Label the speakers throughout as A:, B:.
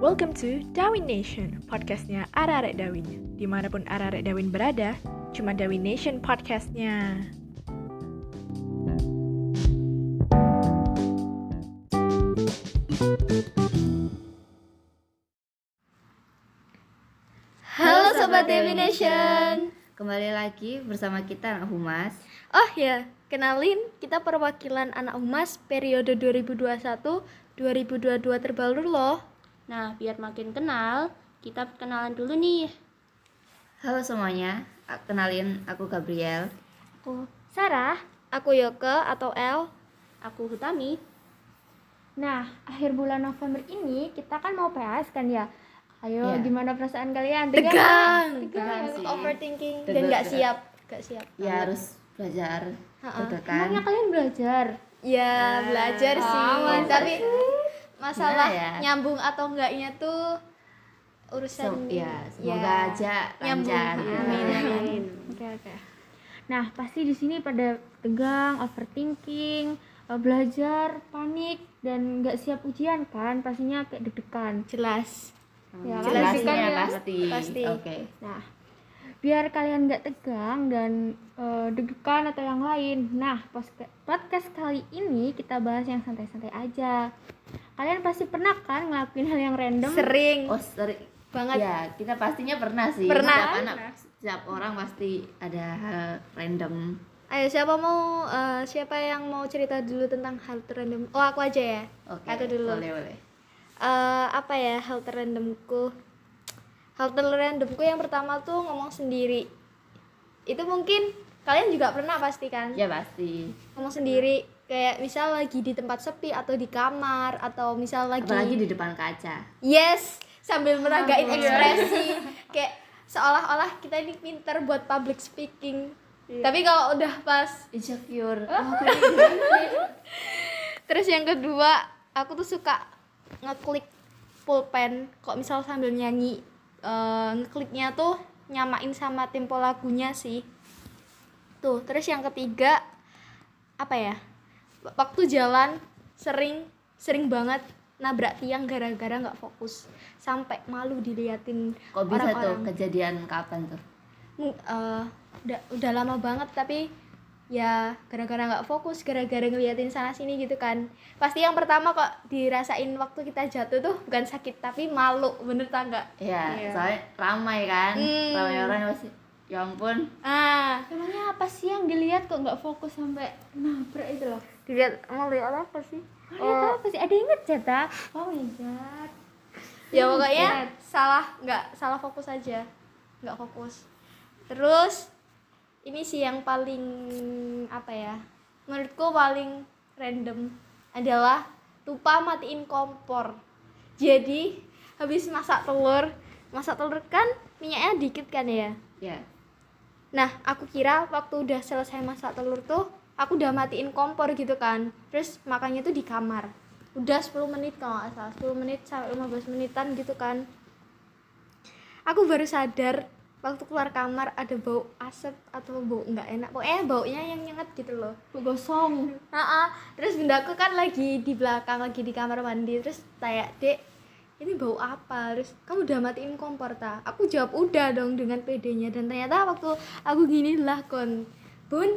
A: Welcome to Darwin Nation, podcastnya Ararek Dawin. Dimanapun Ararek Dawin berada, cuma Dawin Nation podcastnya.
B: Halo Sobat Dewi Nation Kembali lagi bersama kita anak humas
C: Oh ya, kenalin kita perwakilan anak humas periode 2021-2022 terbaru loh.
D: Nah, biar makin kenal, kita kenalan dulu nih.
B: Halo semuanya, A- kenalin aku Gabriel
D: Aku Sarah,
C: Aku Yoke atau El.
D: aku Hutami.
E: Nah, akhir bulan November ini kita kan mau PS kan ya. Ayo,
B: Iya.
E: gimana perasaan kalian?
C: Tegang.
B: Tegang sih.
C: Overthinking
B: Tegang,
C: dan nggak
B: tegang.
C: siap, nggak siap.
B: Ya harus belajar
E: Emangnya
B: dadakan
E: kalian belajar?
C: Ya belajar sih, tapi masalah
B: Ah. Oh, Gimana ya?
C: nyambung atau enggaknya tuh
B: So,
C: urusan ya,
B: Ya semoga aja
C: nyambung.
B: lancar
C: Amin, amin.
E: Oke, oke. Nah, pasti di sini pada tegang, overthinking, eh, belajar, panik dan nggak siap ujian kan? Pastinya kayak deg-degan.
C: Jelas.
B: Hmm,
E: Ya, kan?
B: Jelasnya
E: Jelaskan ya.
B: pasti
C: Pasti.
B: Oke
E: Nah, biar kalian nggak tegang dan eh, deg-degan atau yang lain. Nah, posca- podcast kali ini kita bahas yang santai-santai aja. Kalian pasti pernah kan ngelakuin hal yang random?
C: Sering
B: Oh seri-
C: banget.
B: Ya kita pastinya pernah sih
C: Pernah.
B: Setiap anak, setiap orang pasti ada hal random
C: Ayo siapa mau eh, siapa yang mau cerita dulu tentang hal terendam? Oh aku aja ya.
B: Oke,
C: Aku dulu.
B: boleh boleh
C: eh apa ya hal terandomku hal terandomku yang pertama tuh ngomong sendiri itu mungkin kalian juga pernah pasti kan
B: Ya pasti
C: ngomong sendiri kayak misal lagi di tempat sepi atau di kamar atau misal lagi
B: Apalagi di Ah, depan kaca
C: yes sambil meragain ekspresi kayak seolah-olah kita ini pinter buat public speaking
B: Iya.
C: tapi kalau udah pas
B: Insecure Oh, aku
C: Terus yang kedua, aku tuh suka ngeklik pulpen. Kok misal sambil nyanyi, eh, ngekliknya tuh nyamain sama tempo lagunya sih. Tuh, terus yang ketiga apa ya? W- Waktu jalan sering sering banget nabrak tiang gara-gara nggak fokus sampai malu diliatin
B: Kok
C: Ah,
B: bisa tuh
C: orang-orang.
B: kejadian kapan tuh?
C: Mm, eh, udah udah lama banget tapi ya gara-gara nggak fokus gara-gara ngeliatin sana sini gitu kan pasti yang pertama kok dirasain waktu kita jatuh tuh bukan sakit tapi malu bener tak nggak
B: Ya, soalnya ramai kan,
C: Iya. Hmm.
B: ramai orang yang pasti. Ya ampun,
C: ah
E: Emangnya apa sih yang dilihat kok nggak fokus sampai nabrak itu loh?
C: dilihat ngeliat apa sih
E: Oh, apa sih? Ada yang ngecat ah? Oh my god.
C: ya pokoknya salah nggak salah fokus aja nggak fokus terus ini sih yang paling apa ya menurutku paling random adalah lupa matiin kompor jadi habis masak telur masak telur kan minyaknya dikit kan ya
B: ya.
C: Nah, aku kira waktu udah selesai masak telur tuh, aku udah matiin kompor gitu kan. Terus makannya tuh di kamar. Udah 10 menit kalau nggak salah, 10 menit sampai 15 menitan gitu kan. Aku baru sadar waktu keluar kamar ada bau asap atau bau nggak enak. Pokoknya baunya yang nyengat gitu loh.
E: Gosong.
C: Heeh. Terus bundaku kan lagi di belakang, lagi di kamar mandi. Terus tanya, "Dek, ini bau apa?" Terus, "Kamu udah matiin kompor ta?" Aku jawab, "Udah dong" dengan pedenya. Dan ternyata waktu aku gini lah kon, "Bun,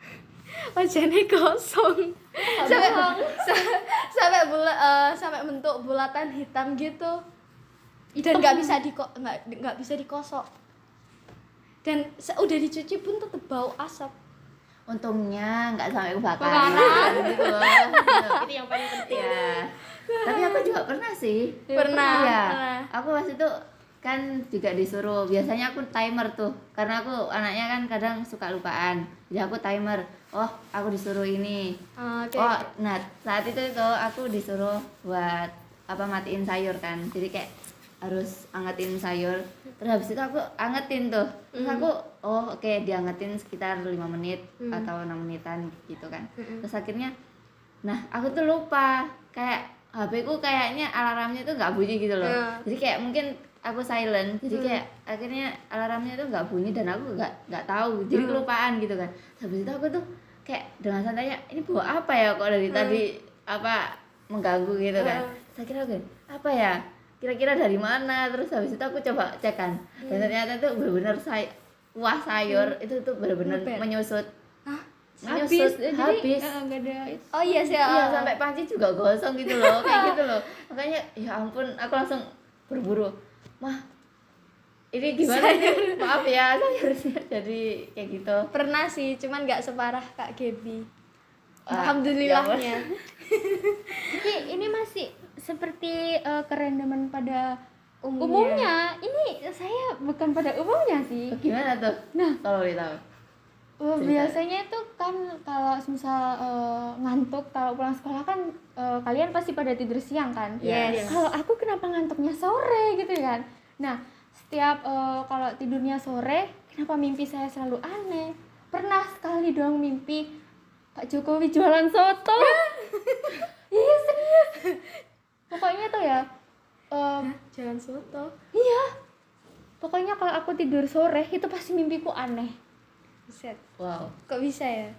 C: wajahnya kosong." sampai sa- sampai bula- eh, sampai bentuk bulatan hitam gitu. Dan nggak bisa di nggak nggak bisa dikosok. Dan se- udah dicuci pun tetap bau asap.
B: Untungnya nggak sampai kebakaran gitu loh.
D: Itu yang paling penting.
B: ya. Tapi aku juga pernah sih.
C: Iya. Pernah.
B: Iya.
C: pernah.
B: Aku waktu itu kan juga disuruh. Biasanya aku timer tuh, karena aku anaknya kan kadang suka lupaan. Jadi aku timer. Oh, aku disuruh ini.
C: Ah, Oke.
B: Oh, nah saat itu itu aku disuruh buat apa matiin sayur kan. Jadi kayak harus angetin sayur. Terus habis itu aku angetin tuh. Terus aku oh oke diangetin sekitar 5 menit atau 6 menitan gitu kan. Terus akhirnya nah aku tuh lupa kayak HP ku kayaknya alarmnya tuh nggak bunyi gitu loh. Jadi kayak mungkin aku silent. Jadi kayak akhirnya alarmnya tuh nggak bunyi dan aku nggak nggak tahu. Jadi kelupaan gitu kan. Terus habis itu aku tuh kayak dengan santainya ini bau apa ya kok dari tadi apa mengganggu gitu kan saya kira gini, apa ya kira-kira dari mana terus habis itu aku coba cek kan dan ternyata itu benar-benar say kuah sayur itu tuh benar-benar
C: Lembek.
B: menyusut
E: habis
B: menyusut
E: eh,
B: habis,
E: jadi eh, nggak ada itu
C: oh iya sih oh.
B: iya sampai panci juga gosong gitu loh kayak gitu loh makanya ya ampun aku langsung berburu mah ini gimana nih? maaf ya sayurnya jadi kayak gitu
C: pernah sih cuman nggak separah kak Gaby
B: Ah, ya
C: alhamdulillahnya
E: tapi ini masih seperti eh, kerendaman pada
C: umumnya,
E: umumnya ini saya bukan pada umumnya sih
B: gimana tuh
E: Nah.
B: kalau ditahu
E: Eh,
B: Cerita.
E: biasanya itu kan kalau misal eh, ngantuk kalau pulang sekolah kan eh, kalian pasti pada tidur siang kan
B: Yes.
E: kalau aku kenapa ngantuknya sore gitu kan nah setiap eh, kalau tidurnya sore kenapa mimpi saya selalu aneh pernah sekali dong mimpi Pak Jokowi jualan soto iya serius pokoknya tuh ya eh,
C: jalan soto
E: iya pokoknya kalau aku tidur sore itu pasti mimpiku aneh
C: Buset,
B: wow
C: kok bisa ya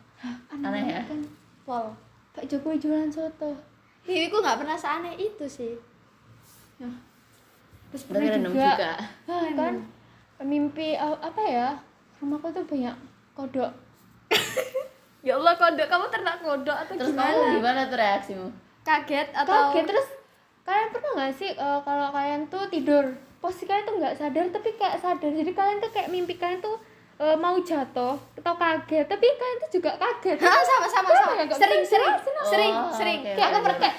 B: Aneh ya?
E: banget kan.
C: pol
E: Pak Jokowi jualan soto.
C: mimpiku nggak pernah seaneh itu sih
E: Terus
B: Berarti
E: pernah
B: random
E: juga,
B: juga.
E: Ah, kan mimpi eh, apa ya? Rumahku tuh banyak kodok.
C: ya Allah kodok kamu ternak kodok atau
B: terus
C: gimana
B: kamu gimana tuh reaksimu
C: kaget atau
E: Kaget terus kalian pernah nggak sih eh, kalau kalian tuh tidur posisi kalian tuh nggak sadar tapi kayak sadar jadi kalian tuh kayak mimpi kalian tuh eh, mau jatuh atau kaget tapi kalian tuh juga kaget
C: Ah, sama sama
E: Kenapa
C: sama
E: ya? Nggak
C: sering
E: bisa
C: sering
E: dijelasin apa?
C: sering
B: Oh,
C: sering
B: oke,
C: kayak aku
B: oke.
C: pernah kayak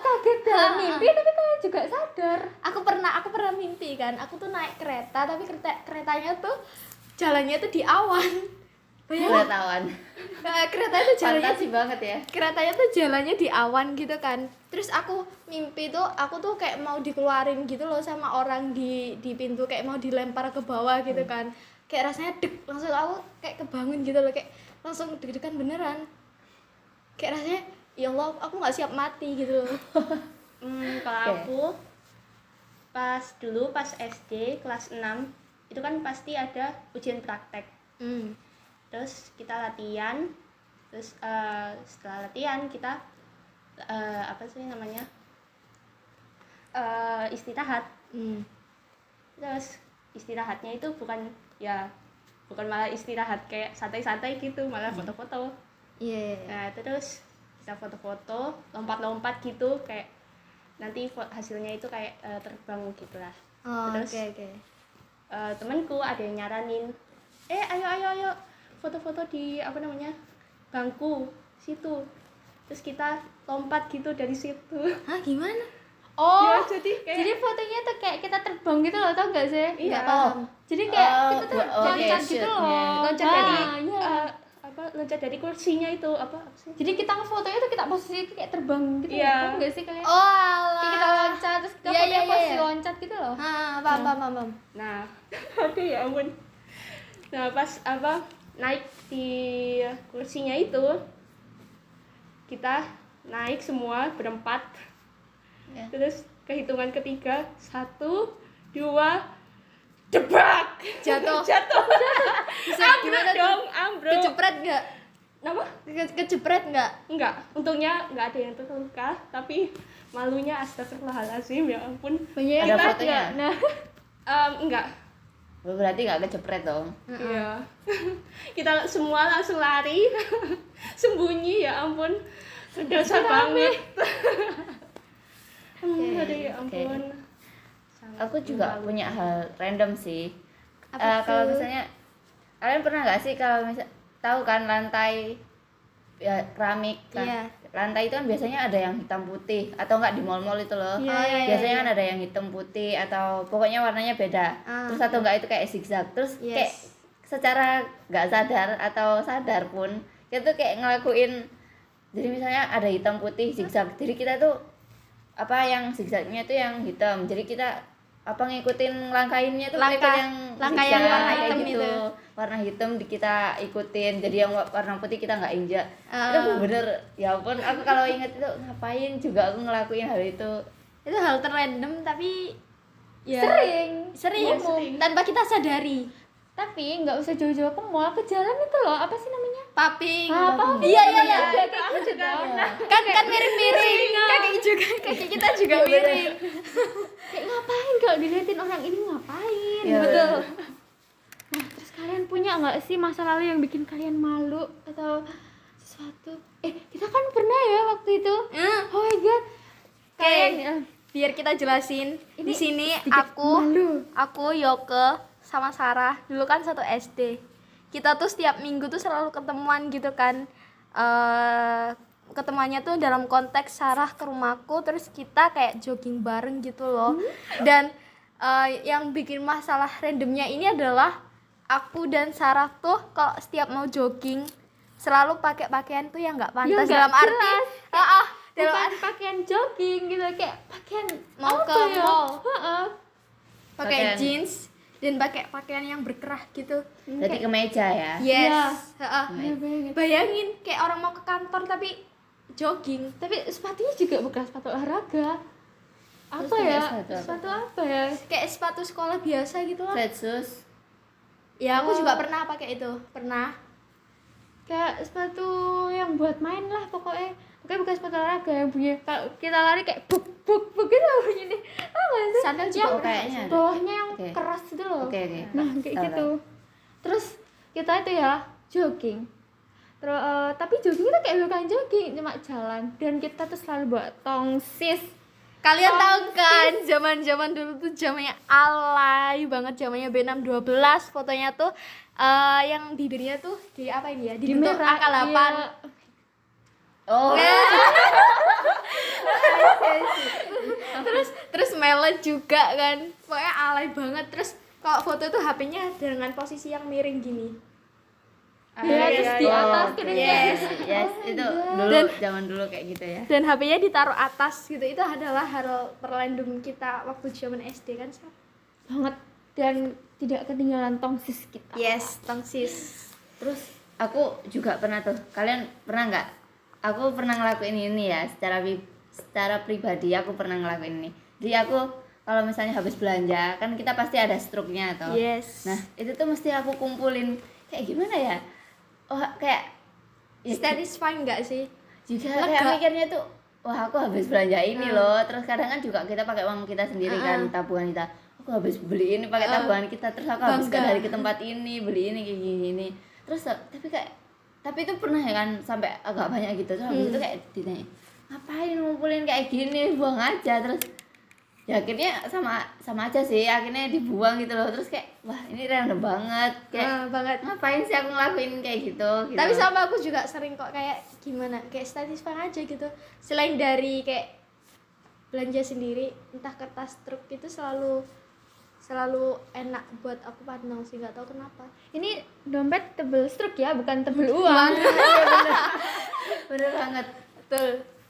E: kaget dalam mimpi tapi kalian juga sadar
C: Ah, aku pernah aku pernah mimpi kan aku tuh naik kereta tapi kereta keretanya tuh jalannya tuh di awan
B: udah tawan
C: Nah, kereta itu jalannya
B: kan? fantasi banget ya
C: keretanya tuh jalannya di awan gitu kan terus aku mimpi tuh aku tuh kayak mau dikeluarin gitu loh sama orang di di pintu kayak mau dilempar ke bawah gitu
E: Hmm.
C: kan kayak rasanya deg langsung aku kayak kebangun gitu loh kayak langsung deg-degan beneran kayak rasanya ya Allah aku nggak siap mati gitu loh
D: Hmm, kalau
B: Oke.
D: aku pas dulu pas SD kelas 6 itu kan pasti ada ujian praktek.
C: hmm.
D: Terus kita latihan. Terus eh, setelah latihan kita eh, apa sih namanya? Eh, istirahat.
C: Hmm.
D: Terus istirahatnya itu bukan ya bukan malah istirahat kayak santai-santai gitu, malah
C: Hmm.
D: foto-foto.
C: Iya.
D: Nah, terus bisa foto-foto, lompat-lompat gitu kayak nanti fo- hasilnya itu kayak eh, terbang gitu lah.
C: Oh,
D: Terus?
C: Oke oke.
D: Eh, temanku ada yang nyaranin, "Eh, ayo ayo ayo foto-foto di apa namanya? bangku situ." Terus kita lompat gitu dari situ.
C: Hah gimana?
E: oh
D: Ya, jadi kayak
E: jadi fotonya tuh kayak kita terbang gitu loh tau gak sih
D: iya.
E: jadi kayak
B: Oh,
E: kita tuh
B: gua- oh,
E: loncat
B: iya,
E: gitu
B: shoot-nya.
E: loh
D: Loncat
E: Nah,
D: dari
E: iya.
D: eh, apa loncat dari kursinya itu apa, apa sih?
E: jadi kita ngefotonya tuh kita posisi kayak terbang gitu
D: Iya.
E: loh tau gak sih kalian
C: Oh
E: Kayak kita
C: alah.
E: loncat terus kita
C: Iya,
E: fotonya
C: iya,
E: posisi
C: iya.
E: loncat gitu loh
C: Ah, paham paham paham, paham.
D: Nah, aduh ya ampun. Nah, pas apa naik di kursinya itu kita naik semua berempat.
B: Ya.
D: Terus kehitungan ketiga satu dua debrak
C: Jatuh.
D: jatuh
C: Bisa
D: ambruk
C: gimana tuh?
D: dong ambruk
C: Kejepret nggak?
D: Kenapa?
C: ya Ke- Kejepret nggak?
D: enggak untungnya enggak ada yang terluka tapi malunya astagfirullahalazim ya ampun
B: Ada
E: banyak yang kaget
B: fotonya?
E: nggak? nah
D: Em, enggak
B: berarti nggak kecepret dong
D: Iya. kita semua langsung lari, sembunyi ya ampun, dosa banget. Hmm, Aduh ya
B: oke.
D: ampun. Sangat
B: aku juga
D: malu.
B: punya hal random sih
C: Apa
B: Eh, kalau
C: tuh?
B: misalnya kalian pernah nggak sih kalau misal tahu kan lantai ya, keramik kan
C: Iya.
B: lantai itu kan biasanya ada yang hitam putih atau enggak di mall-mall itu loh
C: Iya, iya, iya,
B: biasanya kan ada yang hitam putih atau pokoknya warnanya beda
C: Ah.
B: terus atau enggak itu kayak zigzag terus
C: Yes.
B: kayak secara nggak sadar atau sadar pun kita tuh kayak ngelakuin jadi misalnya ada hitam putih zigzag jadi kita tuh apa yang zigzagnya tuh yang hitam jadi kita apa ngikutin langkainnya tuh
C: Langkah-
B: ngikutin yang
C: langkah yang
B: zigzag,
C: warna
B: kayak
C: hitam
B: gitu.
C: itu.
B: warna hitam di- kita ikutin jadi yang wa- warna putih kita nggak injak
C: Ah.
B: itu bener ya ampun aku kalau inget itu ngapain juga aku ngelakuin hal itu
C: Itu hal terrandom tapi ya
E: sering
C: sering, tanpa kita sadari.
E: tapi nggak usah jauh-jauh ke mall ke jalan itu loh apa sih namanya
C: Paping.
E: Ah, apa
C: Iya iya iya.
E: Ada kayak gitu dong.
C: Kan kan miring-miring. Kaki juga kaki kita juga miring.
E: kayak kalau dilihatin orang ini ngapain
B: Iya,
E: betul
B: betul.
E: nah terus kalian punya nggak sih masa lalu yang bikin kalian malu atau sesuatu eh kita kan pernah ya waktu itu oh my god kalian eh,
C: biar kita jelasin di sini
E: sedikit
C: aku
E: malu
C: aku Yoke sama Sarah dulu kan satu SD kita tuh setiap minggu tuh selalu ketemuan gitu kan eh ketemuannya tuh dalam konteks Sarah ke rumahku terus kita kayak jogging bareng gitu loh
E: Hmm?
C: dan eh, yang bikin masalah randomnya ini adalah aku dan Sarah tuh kalau setiap mau jogging selalu pakai pakaian tuh yang nggak pantas
E: nggak
C: dalam arti
E: jelas.
C: Ah, ah, dalam
E: bukan
C: arti
E: pakaian jogging gitu kayak pakaian
C: mau
E: apa
C: ke
E: ya?
C: mall
E: Heeh.
B: Pakaian.
C: pakai jeans dan pakai pakaian yang berkerah gitu.
B: Berarti kemeja ya.
C: Yes. Heeh.
E: Iya banget.
C: Nah, Bayangin kayak orang mau ke kantor tapi jogging.
E: tapi sepatunya juga bukan sepatu olahraga apa
B: Terus pakai
E: ya
B: sepatu apa?
E: sepatu apa ya
C: Kayak sepatu sekolah biasa gitu lah.
B: Flatsus.
C: Ya, aku juga pernah pakai itu. Pernah.
E: kayak sepatu yang buat main lah pokoknya pokoknya bukan sepatu olahraga yang bunyi kalau kita lari kayak buk buk buk gitu bunyi ini apa sih
B: Sandal juga
E: yang
B: kayaknya ada.
E: bawahnya yang
B: Oke.
E: keras gitu loh
B: Oke, oke.
E: nah kayak
B: Tahu,
E: gitu terus kita itu ya jogging terus eh, tapi jogging itu kayak bukan jogging cuma jalan dan kita tuh selalu bawa tongsis
C: Kalian tahu kan zaman-zaman dulu tuh zamannya alay banget zamannya B612 fotonya tuh eh, yang bibirnya tuh di apa ini ya? Di, bentuk
E: merah,
C: angka 8.
E: iya.
B: Oh,
C: terus terus melet juga kan pokoknya alay banget terus kalau foto tuh HP-nya dengan posisi yang miring gini
E: Iya, terus di atas
B: oke.
E: kena
B: oh, yes, yes,
C: Oh
B: itu dulu zaman dulu kayak gitu ya.
C: dan HP-nya ditaruh atas gitu itu adalah hal perlindung kita waktu zaman SD kan Sab?
E: banget dan tidak ketinggalan tongsis kita
C: yes tongsis
B: Terus aku juga pernah tuh. Kalian pernah nggak? Aku pernah ngelakuin ini ya secara pri- secara pribadi aku pernah ngelakuin ini. Jadi aku kalau misalnya habis belanja kan kita pasti ada struknya toh.
C: yes
B: Nah, itu tuh mesti aku kumpulin kayak gimana ya? Oh, kayak ya,
C: satisfying nggak sih
B: juga kayak
C: Lega. Ah.
B: mikirnya tuh wah aku habis belanja ini loh terus kadang kan juga kita pakai uang kita sendiri kan tabungan kita aku habis beli ini pakai tabungan kita terus aku habis
C: Ah. Bangga.
B: dari ke tempat ini beli ini kayak gini ini terus tapi kayak tapi itu pernah ya kan sampai agak banyak gitu terus habis
C: Hmm.
B: itu kayak ditanya ngapain ngumpulin kayak gini buang aja terus ya akhirnya sama sama aja sih akhirnya dibuang gitu loh terus kayak wah ini random banget kayak
C: Eh, banget
B: ngapain sih aku ngelakuin kayak gitu, gitu.
C: tapi sama aku juga sering kok kayak gimana kayak satisfying aja gitu selain dari kayak belanja sendiri entah kertas truk itu selalu selalu enak buat aku pandang sih nggak tahu kenapa
E: ini dompet tebel struk ya bukan tebel uang
B: bener banget
C: betul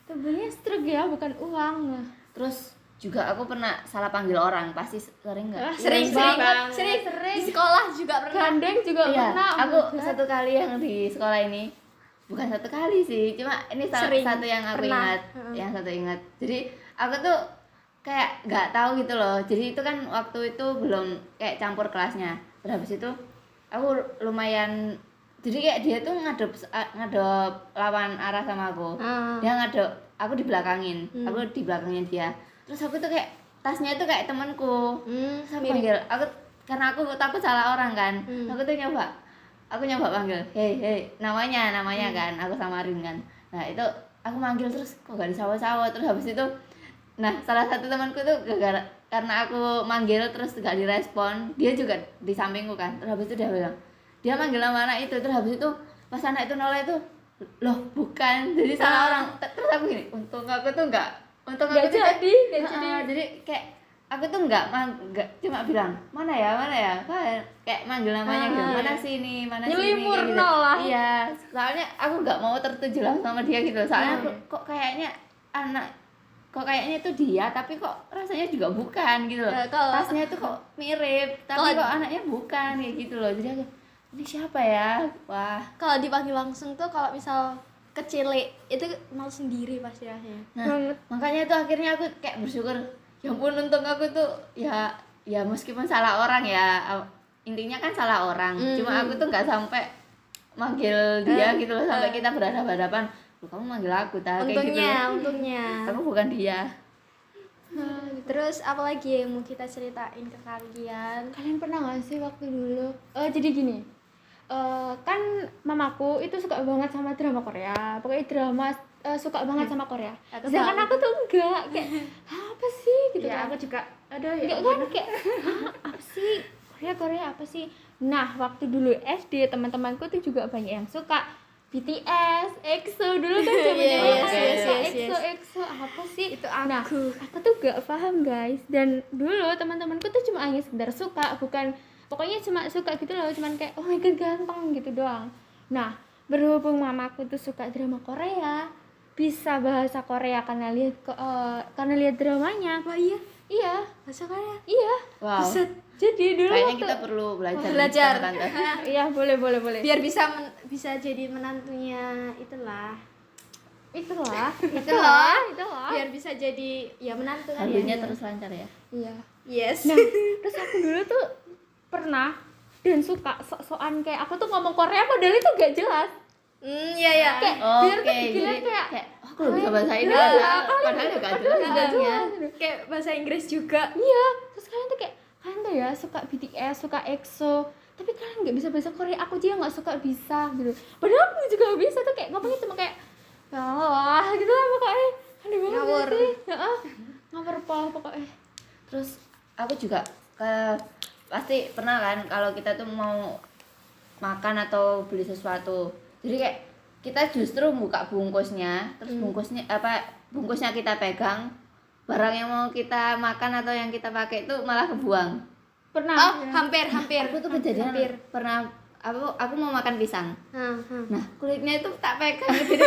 E: tebelnya struk ya bukan uang nah
B: Terus juga aku pernah salah panggil orang, pasti sering nggak?
C: sering
E: Iya,
C: sering
E: banget.
C: sering di sekolah juga pernah
E: gandeng juga
B: Iya,
E: pernah
B: aku satu kali yang di sekolah ini bukan satu kali sih, cuma ini salah
C: Sering,
B: satu yang aku
C: pernah.
B: ingat, yang satu ingat. Jadi aku tuh kayak nggak tahu gitu loh. Jadi itu kan waktu itu belum kayak campur kelasnya. Terus habis itu aku lumayan jadi kayak dia tuh ngadep ngadep lawan arah sama aku. dia ngaduk aku di belakangin
C: Hmm.
B: aku di belakangnya dia terus aku tuh kayak tasnya itu kayak temanku
C: Hmm,
B: terus aku panggil aku karena aku takut salah orang kan
C: Hmm.
B: aku tuh nyoba aku nyoba panggil hei hei namanya namanya kan aku samarin kan nah itu aku manggil terus kok gak disawah-sawah terus habis itu nah salah satu temanku tuh gara karena aku manggil terus gak direspon dia juga di sampingku kan terus habis itu dia bilang dia manggil nama anak itu terus habis itu pas anak itu noleh tuh loh bukan jadi salah orang Ter- terus aku gini untung aku tuh nggak untung aku
E: nggak
B: tuh nggak-
E: jadi
B: Heeh,
E: nggak jadi
B: jadi kayak aku tuh nggak mang- nggak cuma bilang mana ya mana ya kan kayak manggil namanya gitu mana sini mana
E: Nyelimur
B: sini kayak
E: nol lah.
B: iya soalnya aku nggak mau tertuju langsung sama dia gitu soalnya aku kok kayaknya anak kok kayaknya itu dia tapi kok rasanya juga bukan gitu loh
C: Ya, kalau-
B: tasnya itu kok mirip tapi kok anaknya bukan kayak gitu loh jadi aku ini siapa ya wah
C: kalau dipanggil langsung tuh kalau misal kecilik itu malu sendiri pasti
D: Iya.
C: rasanya
B: Nah, makanya tuh akhirnya aku kayak bersyukur. Ya ampun untung aku tuh ya ya meskipun salah orang ya aw- intinya kan salah orang. Cuma aku tuh nggak sampai manggil dia
E: Eh,
B: gitu loh sampai kita berhadapan-hadapan. Lu gitu. kamu manggil aku tak kayak gitu.
C: untungnya untungnya
B: Aku bukan dia.
D: Terus apa lagi yang mau kita ceritain ke kalian?
E: Kalian pernah gak sih waktu dulu? Eh jadi gini, eh kan mamaku itu suka banget sama drama Korea. Pokoknya drama eh, suka banget sama Korea.
D: Aku
E: Sedangkan
D: tahu.
E: aku tuh enggak kayak "Hah, apa sih gitu
B: ya
E: kan?
B: aku juga aduh ya
E: Enggak kan kayak "Hah, apa sih Korea Korea apa sih? Nah waktu dulu SD teman-temanku tuh juga banyak yang suka BTS, EXO dulu kan zaman
D: Iya,
E: zaman
D: yes,
E: suka
D: yes, yes,
E: EXO,
D: yes.
E: EXO apa sih?
D: Itu
E: Nah,
D: aku.
E: aku tuh gak paham guys dan dulu teman-temanku tuh cuma hanya sekedar suka bukan pokoknya cuma suka gitu loh cuman kayak oh my god ganteng gitu doang nah berhubung mamaku tuh suka drama Korea bisa bahasa Korea karena lihat ko- eh, karena lihat dramanya
D: Wah iya,
E: iya
D: bahasa Korea.
E: iya
B: wow
D: Buset.
E: jadi dulu
B: kayaknya
E: waktu
B: kita perlu belajar
D: Belajar.
B: sama tante
E: iya boleh boleh boleh
D: Biar bisa men- bisa jadi menantunya itulah.
E: itulah
D: Itulah.
E: itulah
D: Biar bisa jadi ya menantu kan
B: Lagunya
D: ya.
B: terus lancar ya
E: iya
D: Yes.
E: Nah, terus aku dulu tuh pernah dan suka sok-sokan kayak aku tuh ngomong Korea model itu gak jelas.
D: Hmm, iya ya.
E: Kayak
B: oke
E: biar tuh gila
B: jadi
E: kayak
B: kayak oh, aku belum bisa bahasa ini
E: Iya,
B: padahal
E: kalian-
B: padahal juga
E: padahal
B: jelas
E: nggak jelas.
D: Kayak bahasa Inggris juga.
E: Iya, terus kalian tuh kayak kalian tuh ya suka BTS, suka EXO, tapi kalian nggak bisa bahasa Korea. Aku aja nggak suka bisa gitu. Padahal aku juga nggak bisa tuh kayak ngomongnya cuma kayak wah gitu lah pokoknya. Aduh banget
D: Ngawur.
E: sih. Heeh. Ngawur pol pokoknya.
B: terus aku juga ke pasti pernah kan kalau kita tuh mau makan atau beli sesuatu jadi kayak kita justru buka bungkusnya terus bungkusnya apa bungkusnya kita pegang barang yang mau kita makan atau yang kita pakai itu malah kebuang
E: Pernah.
D: Oh, hampir, hampir.
B: aku tuh kejadian pernah aku aku mau makan pisang
D: Hmm, hmm.
B: nah kulitnya itu tak pegang jadi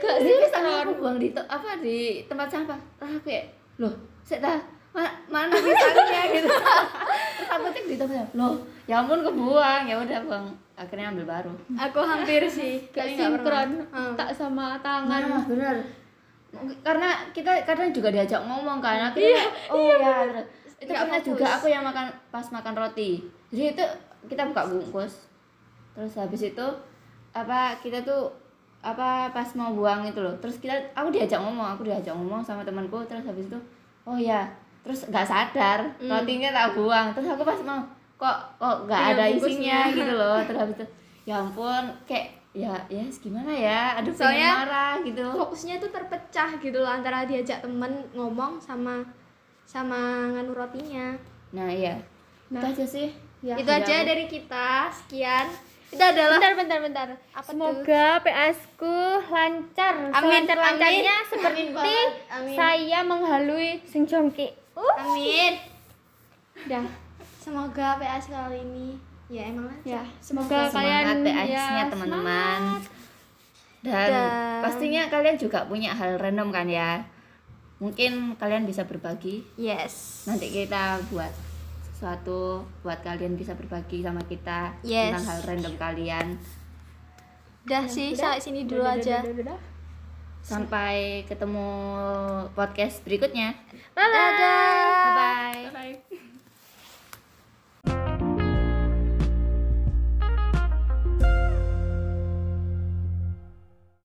B: gak sih pisangnya aku buang di to- apa di tempat sampah terus aku kayak loh saya dah ma- mana pisangnya gitu terus aku cek di tempat sampah loh ya ampun kebuang ya udah buang akhirnya ambil baru
D: Aku hampir sih.
E: Gak
D: Tapi nggak pernah.
E: sinkron tak sama tangan.
B: nah bener karena kita kadang juga diajak ngomong kan
D: Iya,
B: akhirnya oh ya terus itu
D: Nggak
B: pernah
D: fokus.
B: juga aku yang makan pas makan roti jadi itu kita buka bungkus terus habis itu apa kita tuh apa pas mau buang itu loh terus kita aku diajak ngomong aku diajak ngomong sama temanku terus habis itu oh ya terus nggak sadar rotinya tak buang terus aku pas mau kok kok nggak
D: Hmm. Iya,
B: ada
D: bungkusnya.
B: isinya gitu loh terus habis itu ya ampun kayak ya ya gimana ya aduh pengen
D: Soalnya-
B: marah gitu
D: Fokusnya tuh terpecah gitu loh antara diajak temen ngomong sama sama nganu rotinya.
B: Nah iya. Itu aja sih.
D: Itu aja dari kita. Sekian. Itu adalah
E: Bentar, bentar, bentar.
D: Apa
E: Semoga PS ku lancar,
D: Amin,
E: selancar-lancarnya
D: amin.
E: seperti
D: Amin banget, amin.
E: saya menghalui Sing Jong Ki. Uh,
D: Amin.
E: dah.
D: Semoga PS kali ini ya emang
E: Ya,
D: lancar.
E: semoga
B: Semangat
E: kalian ya,
B: PS-nya teman-teman. Dan,
D: Dan-
B: pastinya kalian juga punya hal random kan ya. Mungkin kalian bisa berbagi.
D: Yes.
B: Nanti kita buat sesuatu buat kalian bisa berbagi sama kita
D: Yes.
B: tentang hal random kalian.
D: Ya, Udah sih, sampai sini dulu aja.
B: Sampai ketemu podcast berikutnya.
E: Bye bye.
D: Dadah.